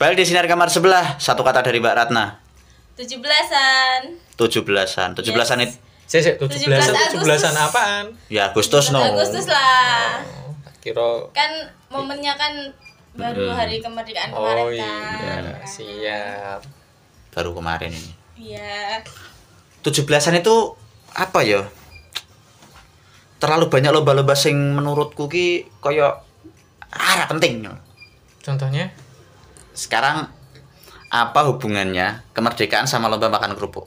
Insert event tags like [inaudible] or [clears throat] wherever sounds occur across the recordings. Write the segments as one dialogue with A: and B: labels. A: Balik di sinar kamar sebelah. Satu kata dari Mbak Ratna.
B: 17-an.
A: 17-an. 17-an
B: Yes.
A: itu
C: Saya
B: 17 Agustus.
C: sih 17 17-an apaan?
A: ya Agustus no.
B: Agustus lah.
C: Oh, Kira
B: Kan momennya kan baru
A: Mm-mm.
B: hari kemerdekaan kemarin kan.
C: Oh iya, siap.
A: Baru kemarin ini.
B: Iya.
A: 17-an itu apa ya? Terlalu banyak lomba-lomba sing menurutku ki koyo arah penting.
C: Contohnya?
A: Sekarang apa hubungannya kemerdekaan sama lomba makan
C: [laughs]
A: kerupuk?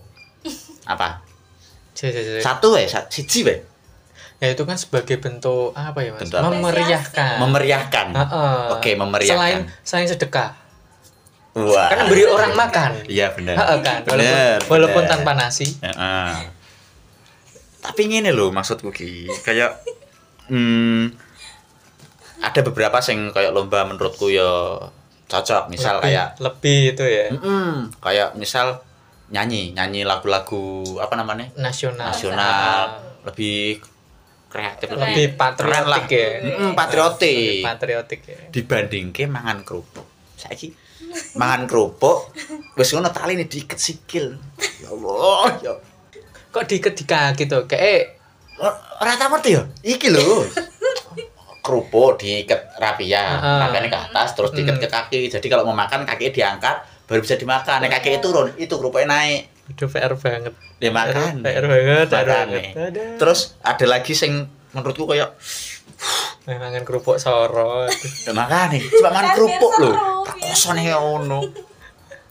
A: Apa?
C: Si, si, si.
A: Satu ya, siji wae.
C: Ya itu kan sebagai bentuk apa ya mas?
A: Bentuk apa?
C: Memeriahkan.
A: Memeriahkan.
C: Heeh.
A: Oke, memeriahkan.
C: Selain selain sedekah,
A: Wah.
C: kan beri
A: [laughs]
C: orang makan.
A: Iya benar.
C: Heeh, kan. Walaupun,
A: Bener,
C: walaupun
A: bener.
C: tanpa nasi.
A: Heeh. Tapi ngene loh maksudku ki, kayak hmm, ada beberapa sing kayak lomba menurutku ya cocok, misal
C: lebih,
A: kayak Hmm?
C: lebih itu ya
A: Mm-mm, kayak misal nyanyi, nyanyi lagu-lagu apa namanya?
C: nasional. Ah.
A: nasional, lebih kreatif
B: Keren.
C: Lebih
A: keren lah.
C: patriotik ya.
A: Mm-mm,
C: Lebih
A: patriotik.
C: patriotik ya.
A: dibanding ke mangan kerupuk saiki mangan kerupuk wis ngono tali ini diikat sikil ya Allah ya
C: Kok dikedika gitu? Kayak eh,
A: rata ngerti ya iki lho kerupuk diikat rapi ya
C: Heeh.
A: rapiannya ke atas
C: Hmm.
A: terus diikat ke kaki jadi kalau mau makan kakinya diangkat baru bisa dimakan Nek
C: Oh.
A: kakinya turun itu kerupuknya naik
C: aduh PR banget.
A: Ya, dimakan
C: PR Eh, banget, PR banget.
A: Makane. eh. terus ada lagi sing menurutku kayak
C: Mangan kerupuk sorot.
A: Ya makane, coba makan
B: Kan
A: kerupuk
B: biasa ya.
A: lho.
B: roh,
A: Takosone ono.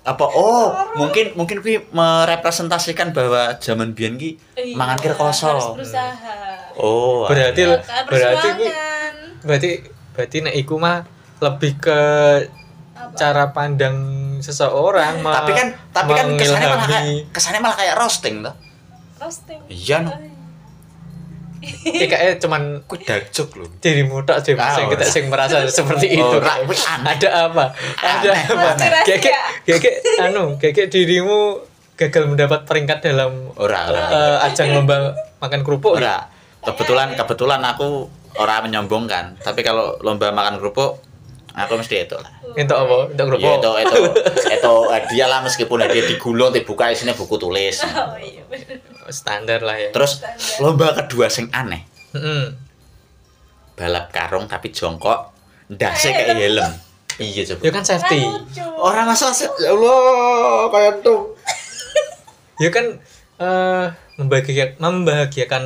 A: Apa oh, mungkin mungkin kuwi merepresentasikan bahwa zaman biyen ki
B: Iya,
A: mangan kir
B: Harus
A: kosong.
B: berusaha.
A: Oh.
C: Berarti
A: alah.
B: Maka
C: Iya, berarti
B: perjuangan.
C: gue- berarti berarti nek iku mah lebih ke
B: Apa?
C: cara pandang seseorang me-
A: tapi kan tapi kan kesannya malah kayak
C: mengilhami.
A: kesannya malah kayak roasting toh.
B: Roasting. Oh,
A: Iya no.
C: kayaknya cuman
A: Kuwi dagjuk lho.
C: dirimu tak sih
A: Ah,
C: sing kita
A: ora.
C: sing
A: [laughs]
C: merasa seperti itu
A: Ora kuwi aneh.
C: ada apa ada
A: Aneh,
C: apa
A: aneh.
C: keke keke anu keke dirimu gagal mendapat peringkat dalam
A: Ora ora.
C: eh, ajang lomba makan
A: Oh,
C: kerupuk
A: iya. Ora. Kebetulan kebetulan aku ora menyombongkan, tapi kalau lomba makan kerupuk aku mesti itu lah.
C: untuk apa untuk kerupuk
A: Ya itu itu itu hadiah lah meskipun hadiah digulung dibuka isinya buku tulis.
B: Oh iya bener.
C: standar lah ya
A: Terus lomba kedua sing aneh,
C: Mm-mm.
A: balap karung tapi jongkok, ndase kayak helm. Iya
C: ya
A: coba.
C: kan safety
B: Kan lucu.
A: Orang masalah sih, ya Allah, kayak tuh.
C: ya kan eh membahagiakan membahagiakan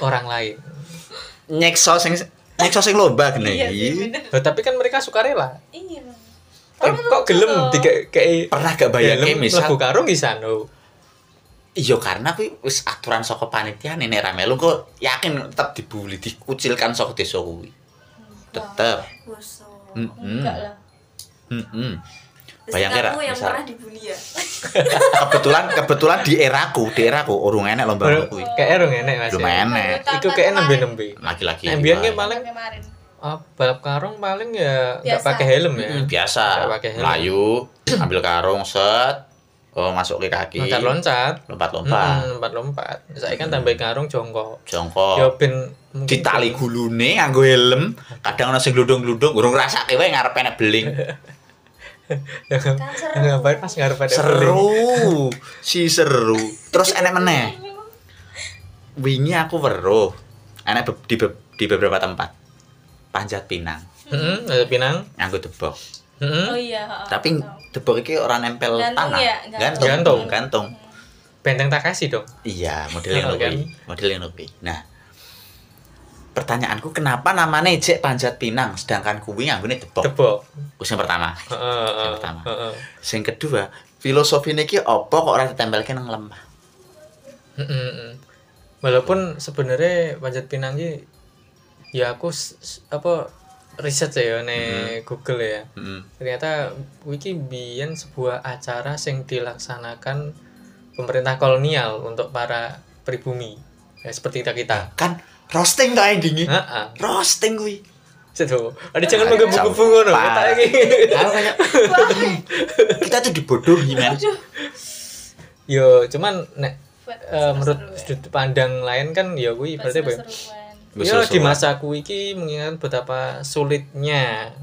C: orang lain
A: Nyekso sing nyekso sing lomba gini.
B: Iya sih bener.
C: Loh, tapi kan mereka sukarela
B: Iya.
C: kok, kok gelem tiga kayak
A: Pernah gak bayangin
C: gelem
A: misal
C: lebu karung di sana
A: iya karena kuwi wis aturan saka panitia nih nek ra melu kok yakin tetep dibully, dikucilkan saka desa kuwi. Tetep.
D: Bosok.
A: Mm-mm.
B: Enggak lah.
A: Mm-mm.
D: Terus
A: Bayangin ra
D: kamu yang
A: misal
D: pernah dibully ya?
A: [laughs] kebetulan kebetulan di eraku, di eraku urung enek lomba ngono kuwi.
C: kayak erong enek mas
A: Belum enek.
B: Anggota
C: itu kayak nembe
B: kemarin.
C: nembe
A: Laki-laki.
C: Nek mbiyen ki
A: gimana?
C: paling
B: Kemarin.
C: oh, balap karung paling ya nggak
B: Biasa.
C: pakai helm ya
A: Hmm, biasa
C: Nggak pakai helm.
A: melayu [clears throat] ambil karung set oh, masuk ke kaki
C: loncat loncat
A: lompat lompat
C: lompat lompat saya kan tambah karung jongkok ya
A: jongkok
C: ben mungkin- [laughs]
A: ditali gulune nganggo helm kadang ono sing gludung-gludung urung rasake wae ngarepe nek beling
C: Ya, ngapain pas ngarep ada beli?
A: seru si seru terus enek meneh wingi aku weruh enek be- di, be- di beberapa tempat panjat pinang
C: Mm-mm, ada pinang
A: nganggo debok
C: Mm-mm.
B: Oh iya. ha, ha,
A: tapi
B: tahu.
A: debok iki ora nempel
B: Gantung
A: tanah
B: ya,
A: gantung
B: gantung. Hmm,
A: gantung,
C: Gantung.
A: gantung.
C: benteng tak kasih dong
A: Iya, model yang
C: Kenal,
A: lebih, model yang lebih. Nah, pertanyaanku kenapa namanya Ejek Panjat Pinang sedangkan kuwi nganggone debok.
C: tebok
A: Itu yang pertama.
C: Heeh,
A: Yang pertama.
C: heeh.
A: Yang kedua, filosofi niki apa kok ora ditempelke nang lemah?
C: Mm-mm, mm. walaupun sebenarnya panjat pinang ki ya aku s- s- apa riset ya nih Google ya
A: Mm.
C: ternyata wiki biyen sebuah acara sing dilaksanakan pemerintah kolonial untuk para pribumi ya, seperti kita kita
A: Kan roasting ta endinge.
C: Heeh.
A: Roasting kuwi.
C: Sedo. Ada jangan menggebu-gebu ngono.
A: Parah. [laughs]
C: ya, Tak iki.
A: Aku kayak "Hmm, kita tuh dibodohi men.
C: Yo, cuman nek
B: Buat
C: eh, menurut sudut pandang lain kan ya kuwi
B: buat
C: berarti apa? ya?
B: seru-seruan.
C: Ya
A: Seru-seruan.
C: di masa kuwi iki mengingat betapa sulitnya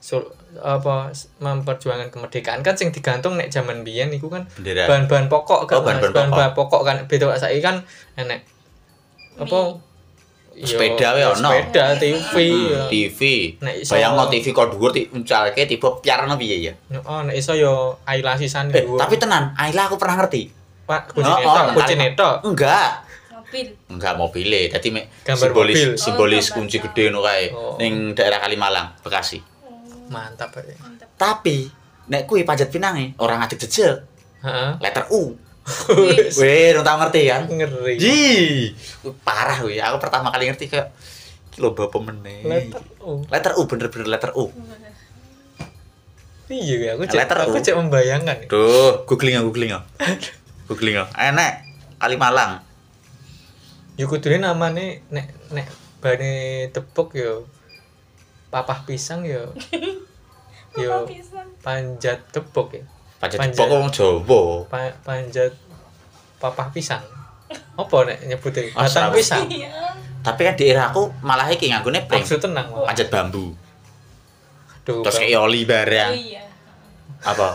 C: sul- apa s- memperjuangkan kemerdekaan kan sing digantung nek zaman biyen iku kan
A: bendera
C: bahan-bahan pokok
A: Oh,
C: kan
A: bahan-bahan
C: Mas. bahan-bahan pokok. kan beda saiki kan enek apa yo,
A: Sepeda wae ono.
C: sepeda TV
A: Hmm,
C: ya.
A: TV
C: Nek iso-
A: bayang no TV kok dhuwur ti uncalke tiba piarno piye ya
C: Yo, oh nek iso yo ailasisan
A: eh
C: dhuwur.
A: tapi tenan Ayla aku pernah ngerti
C: Pak
A: Oh,
C: kucine
A: oh,
C: tok, kucine tok.
A: enggak [laughs]
B: mobil
A: enggak mobile tadi me,
C: Gambar
A: simbolis
C: mobil.
A: simbolis
B: Oh, gambar.
A: kunci gede no kae
C: Oh.
A: ning daerah Kalimalang Bekasi
B: Hmm,
C: Mantap. Pak.
B: mantap
A: tapi nek kui panjat pinange e, orang adik jejel
C: Heeh.
A: letter U
B: Wih,
A: weh ora tau ngerti kan
C: Ngeri.
A: Ji, parah wih. Aku pertama kali ngerti kayak "Ki lomba pemenang.
C: Letter U.
A: Letter U bener-bener letter U.
C: Iya, aku cek,
A: Letter
C: aku
A: U.
C: cek membayangkan.
A: Duh, googling ya, googling ya. Googling ya. Enak. Kalimalang.
C: Ya kudune namane nek nek bane tepuk yo papah pisang yo
B: apa
C: yo
B: pisang?
C: panjat tepuk ya.
A: Panjat
C: Panjat.
A: Jepok wong Jawa.
C: Pa- panjat papah pisang. Apa nek nyebute?
A: Ah,
C: Batang
A: serabut.
C: pisang.
B: Iya.
A: Tapi kan di era aku malah iki nganggone pring.
C: Maksud tenang. Mas.
A: Panjat bambu.
C: Aduh.
A: Terus
C: Bang.
A: kayak oli
B: Oh
A: bareng.
B: iya.
A: Apa?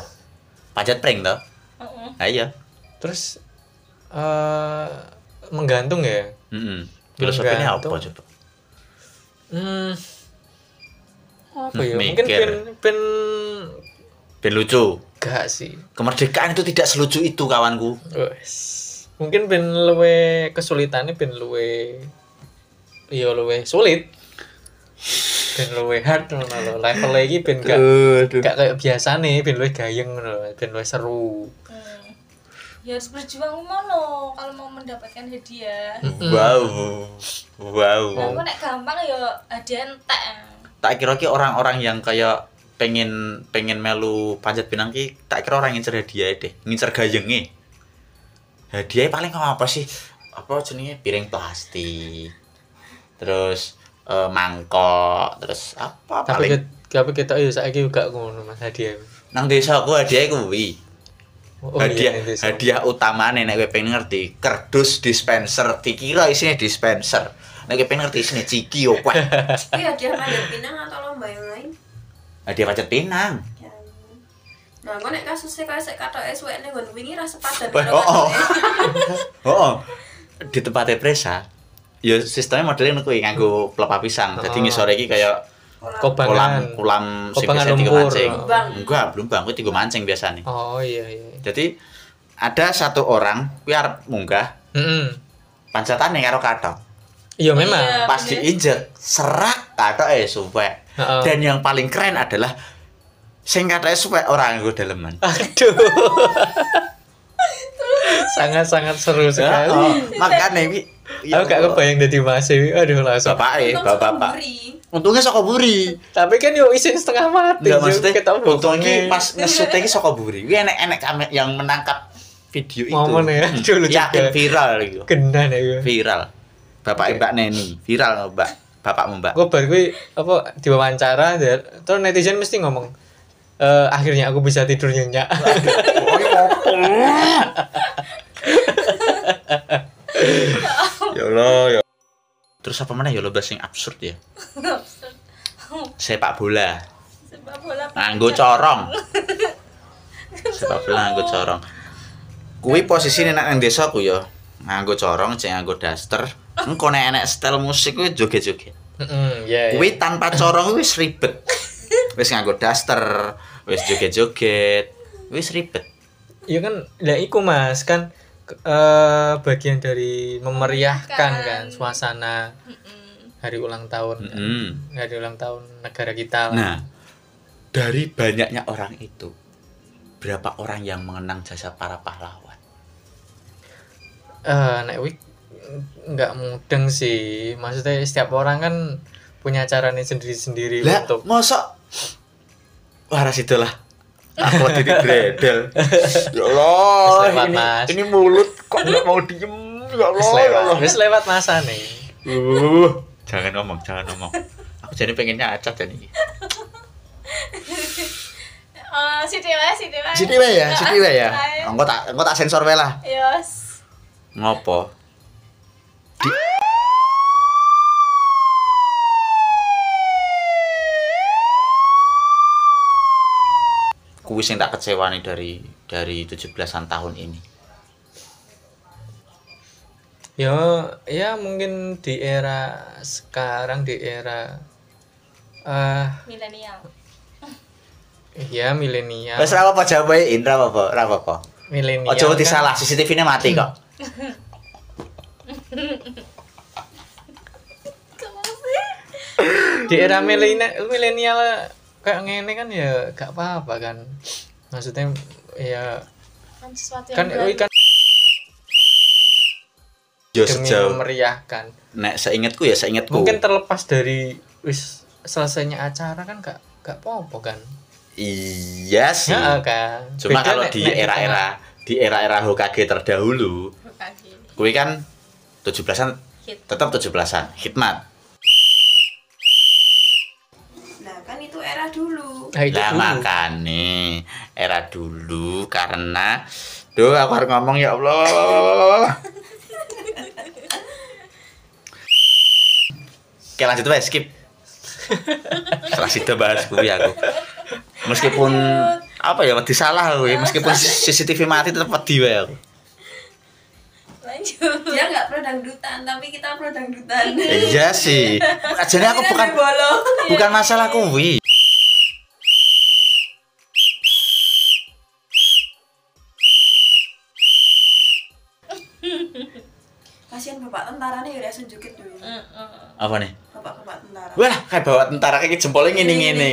A: Panjat pring toh?
B: Heeh.
A: Nah, iya.
C: Terus eh menggantung ya.
A: Heeh. Filosofinya apa coba?
C: Hmm. Apa
A: Hmm,
C: ya? Mungkin
A: mikir.
C: pin pin
A: Ben lucu.
C: gak sih.
A: Kemerdekaan itu tidak selucu itu kawanku.
C: Wes. Mungkin ben luwe kesulitannya ben luwe iya luwe sulit. Ben luwe hard ngono lho. Level e iki ben gak
A: Aduh.
C: gak kayak biasa nih, ben luwe gayeng ngono, lho, ben luwe seru.
B: Hmm. Ya harus berjuang mono kalau mau mendapatkan hadiah.
A: Wow. Wow.
B: Nah, aku nek gampang ya hadiah entek.
A: tak kira ki orang-orang yang kayak pengen pengen melu panjat pinang ki tak kira orang ngincer hadiah deh ngincer gayenge hadiah paling apa sih apa jenisnya piring plastik terus eh, mangkok terus apa
C: Tapi
A: paling
C: ket- tapi kita yo saiki gak ngono Mas hadiah.
A: nang desa aku hadiah kuwi
C: Oh,
A: hadiah
C: iya, nih, besok.
A: hadiah utama nek kowe pengen ngerti kerdus dispenser dikira isinya dispenser nek kowe pengen ngerti isinya ciki yo [laughs] kuah.
D: Itu hadiah panjat Iya, pinang atau lomba yang lain?
A: hadiah panjat pinang
D: Ya. Nah, gue nek kasusnya kayak sek kata SWN yang gue wingi rasa padan
A: Wah,
C: [laughs]
D: karo
A: oh, oh.
D: katoke.
A: Oh, di tempatnya presa, ya sistemnya modelnya nuku nganggo pelepah pisang. Jadi
C: Oh.
A: ngisore iki kayak
D: Kolam.
A: kolam
C: Kobangan.
A: kolam sing
C: Kobangan
A: biasa dienggo
C: lumpur.
A: mancing.
D: Bang.
A: Enggak, belum bang, kuwi dienggo mancing biasanya.
C: Oh iya iya.
A: Jadi ada satu orang kuwi arep munggah,
C: Heeh.
A: pancatane karo katok.
C: Iya memang.
B: Iya.
A: Pas
B: bener.
A: diinjek, serak katok eh suwek.
C: Heeh.
A: Dan yang paling keren adalah sing katoke suwek orang nganggo daleman.
C: Aduh. [laughs] Sangat-sangat seru sekali.
A: Oh, makane iki ah. ya
C: Aku gak kebayang jadi Mas Ewi. Aduh langsung.
A: Bapak eh,
D: Untung
A: bapak.
D: sama
A: bapak.
D: Buri.
A: Untungnya saka buri.
C: Tapi kan yo isin setengah mati.
A: Enggak
C: Yo,
A: maksudnya
C: Iya, kita
A: untung
C: bohongnya.
A: ini pas ngesut iki saka buri. Kuwi enek-enek kame- yang menangkap video itu. Hmm.
C: Momen ya, dulu juga.
A: Yakin viral gitu.
C: Gendan ya. yo.
A: Viral. Bapak
C: Oke.
A: Mbak Neni, viral Mbak. Bapak Mbak.
C: Gue baru gue apa diwawancara dan terus netizen mesti ngomong "Eh, akhirnya aku bisa tidur
A: [laughs]
C: nyenyak.
A: ya Allah, ya. Terus apa mana ya lo bahas yang absurd ya? Sepak bola,
B: Sepak bola.
A: nganggo corong. Sepak bola nganggo corong. Kuwi posisine nek nang desa ku ya. Nganggo corong, cek nganggo daster. Engko nek enek style musik kuwi joget-joget.
C: Heeh, ya. ya.
A: Kuwi tanpa corong kuwi wis ribet. Wis nganggo daster, wis joget-joget, wis ribet.
C: Iya kan, lah iku Mas kan ke- eh, bagian dari memeriahkan kan
B: Memeriahkan.
C: suasana
B: Mm-mm.
C: hari ulang tahun. kan.
A: Mm.
C: Hari ulang tahun negara kita. lah.
A: Nah, dari banyaknya orang itu, berapa orang yang mengenang jasa para pahlawan?
C: eh nek wik nggak mudeng sih maksudnya setiap orang kan punya caranya sendiri-sendiri
A: Lah,
C: untuk
A: mosok waras itulah. Aku tadi bredel. [laughs] Ya Allah,
C: Wis lewat,
A: ini,
C: Mas.
A: ini mulut kok nggak mau diem. Ya
C: Wis
A: Allah, ya
C: lewat
A: Allah.
C: wis lewat masa nih
A: Uh, jangan ngomong, jangan ngomong. Aku jadi pengennya acat jadi.
B: Eh, si Dewa, si Dewa.
A: Sini wae ya, sini wae ya.
B: Ah,
A: Engko tak engko tak sensor wae lah.
B: Yos.
A: Ngopo? kuis yang tak kecewani dari dari 17-an tahun ini.
C: Ya, ya mungkin di era sekarang di era eh
B: milenial
C: ya milenial.
A: Wes ra apa jawabe Indra apa ra apa.
C: Milenial.
A: Ojo
C: kan. Hmm.
A: mesti salah, CCTV-ne mati kok.
C: Di era milenial milenial kayak ngene kan ya gak apa-apa kan. Maksudnya ya
B: kan sesuatu yang
C: kan
B: baru.
C: kan
A: Yo
C: demi
A: Ya, sejauh
C: memeriahkan.
A: nek seingetku ya seingetku.
C: Mungkin terlepas dari wis selesainya acara kan gak gak apa-apa kan.
A: Iya sih.
C: Ya kan.
A: Cuma
C: Beda
A: kalau
C: nek-
A: di
C: nek
A: era-era di era-era Hokage terdahulu,
B: Hokage.
A: kuwi kan 17-an
B: Hit.
A: tetap 17-an, hikmat.
D: Nah kan itu era dulu.
C: Nah, itu
A: Lah
C: dulu.
A: makane era dulu karena Duh, aku harus ngomong ya Allah. Oke lanjut wes [laughs] skip. Setelah itu bahas kuwi aku. Meskipun apa ya wedi salah aku ya, meskipun CCTV mati tetap wedi wae aku.
B: lanjut
D: Dia nggak pro dangdutan tapi kita pro dangdutan.
A: Iya sih. Ajane aku
D: kan
A: bukan
D: bolong.
A: bukan masalah kuwi.
D: Kasihan bapak tentara nih udah senjukit dulu.
B: Hmm. Mm-mm.
A: Apa nih?
D: Bapak bapak tentara.
A: Wah, kayak bawa tentara kayak jempolnya ngene-ngene.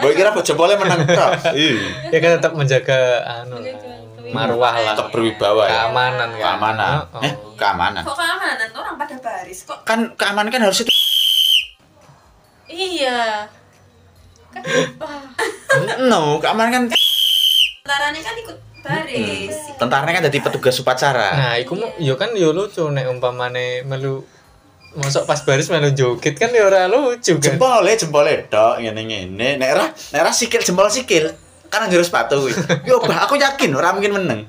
A: Gue kira kok jempolnya menang tok. Ih.
C: ya kan tetap menjaga anu lah,
B: Menjaga kewibawaannya.
C: marwah lah
A: Tetap berwibawa ya.
C: keamanan kan
A: keamanan
C: Oh, oh.
A: eh keamanan
D: Kok keamanan orang pada baris kok?
A: kan keamanan kan harus itu
B: iya [laughs] kenapa
A: no keamanan kan
D: Tentara nih kan ikut baris.
B: Hmm.
A: tentaranya kan jadi petugas upacara
C: nah iku mau yo kan yo lucu nek umpamane melu mosok pas baris melu joget kan yo ora lucu kan
A: jempolnya jempolnya dok ngene ngene nek ra nek ra sikil jempol sikil karena jurus sepatu kuwi yo bah aku yakin ora mungkin menang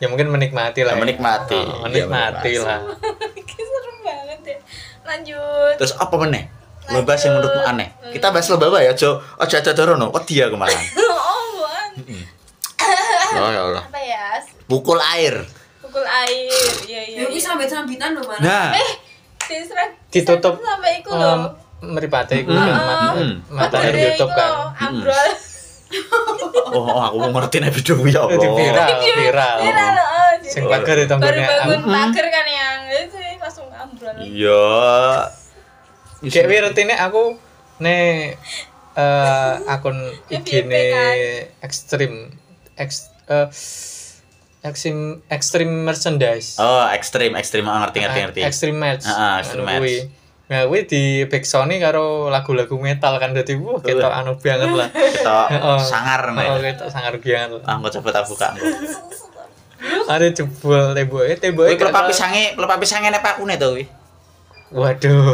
C: ya mungkin menikmati
A: Ya,
C: lah ya.
A: menikmati.
C: Oh, menikmati
A: Ya,
C: lah
B: Kayak seru banget ya lanjut
A: terus apa meneh lomba yang menurutmu aneh kita bahas lomba ya jo ojo aja dorono kok dia kemarin
B: [laughs] oh bukan.
A: [laughs] oh ya Allah
B: apa ya
A: pukul air
B: pukul air iya iya
D: Ya wis
B: iya.
D: sambit-sambitan lho mana.
A: nah
B: Disrek-
C: ditutup
B: disrek sampai iku
C: em,
B: loh
C: meripate iku
A: Mm.
C: kan, mata
A: Mm.
C: mata
B: Matahari
C: ditutup
B: iku
C: kan Hmm.
B: loh, ambrol
A: oh, oh, aku mau ngerti nek video ya
C: Jadi
A: Allah
C: viral viral
B: [laughs] Kira loh, oh, jadi
C: sing pagar itu
B: baru bangun
C: tambahnya
B: pagar kan yang itu langsung ambrol
A: iya
C: Kayak wir rutine aku nih eh, akun
B: Ya,
C: IG ne
B: VIP kan.
C: ekstrim Ex- eh, ekstrim ekstrim merchandise.
A: Oh, ekstrim, ekstrim. Ah, ngerti, ngerti, ngerti.
C: Ekstrim merch.
A: Ah, ah, ekstrim
C: Anu kuwi.
A: merch.
C: Nah, kuwi di Big Sony karo lagu-lagu metal kan dadi wah ketok anu banget lah.
A: Kita
C: Heeh.
A: sangar
C: [laughs] Oh,
A: nih.
C: ketok sangar banget. lah.
A: Ah, Aku coba tak buka.
C: Ada jebol temboknya
A: Wih,
C: temboknya.
A: pelepah
C: kata-
A: pisangnya, pelepah pisangnya nih pakune tuh. wih.
C: Waduh.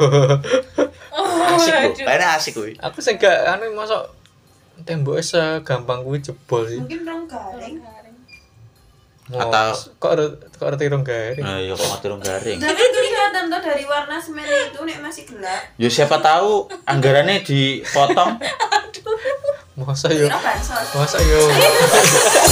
C: [laughs] Oh,
A: Asik loh,
B: [laughs] aduh.
A: kayaknya asik loh. wih.
C: aku sing gak anu mosok temboknya segampang kuwi jebol sih.
D: Mungkin orang garing.
A: Iya.
C: Wah,
A: Atau-
C: kok re- kok reti rong garing.
A: Nah, iya kok mati garing.
D: Tapi itu kelihatan tuh dari warna semen itu nek masih gelap.
A: Yo siapa tahu [laughs] anggarannya dipotong.
C: Masa
A: Iya.
C: yo
D: Kira bansos.
C: Masa yo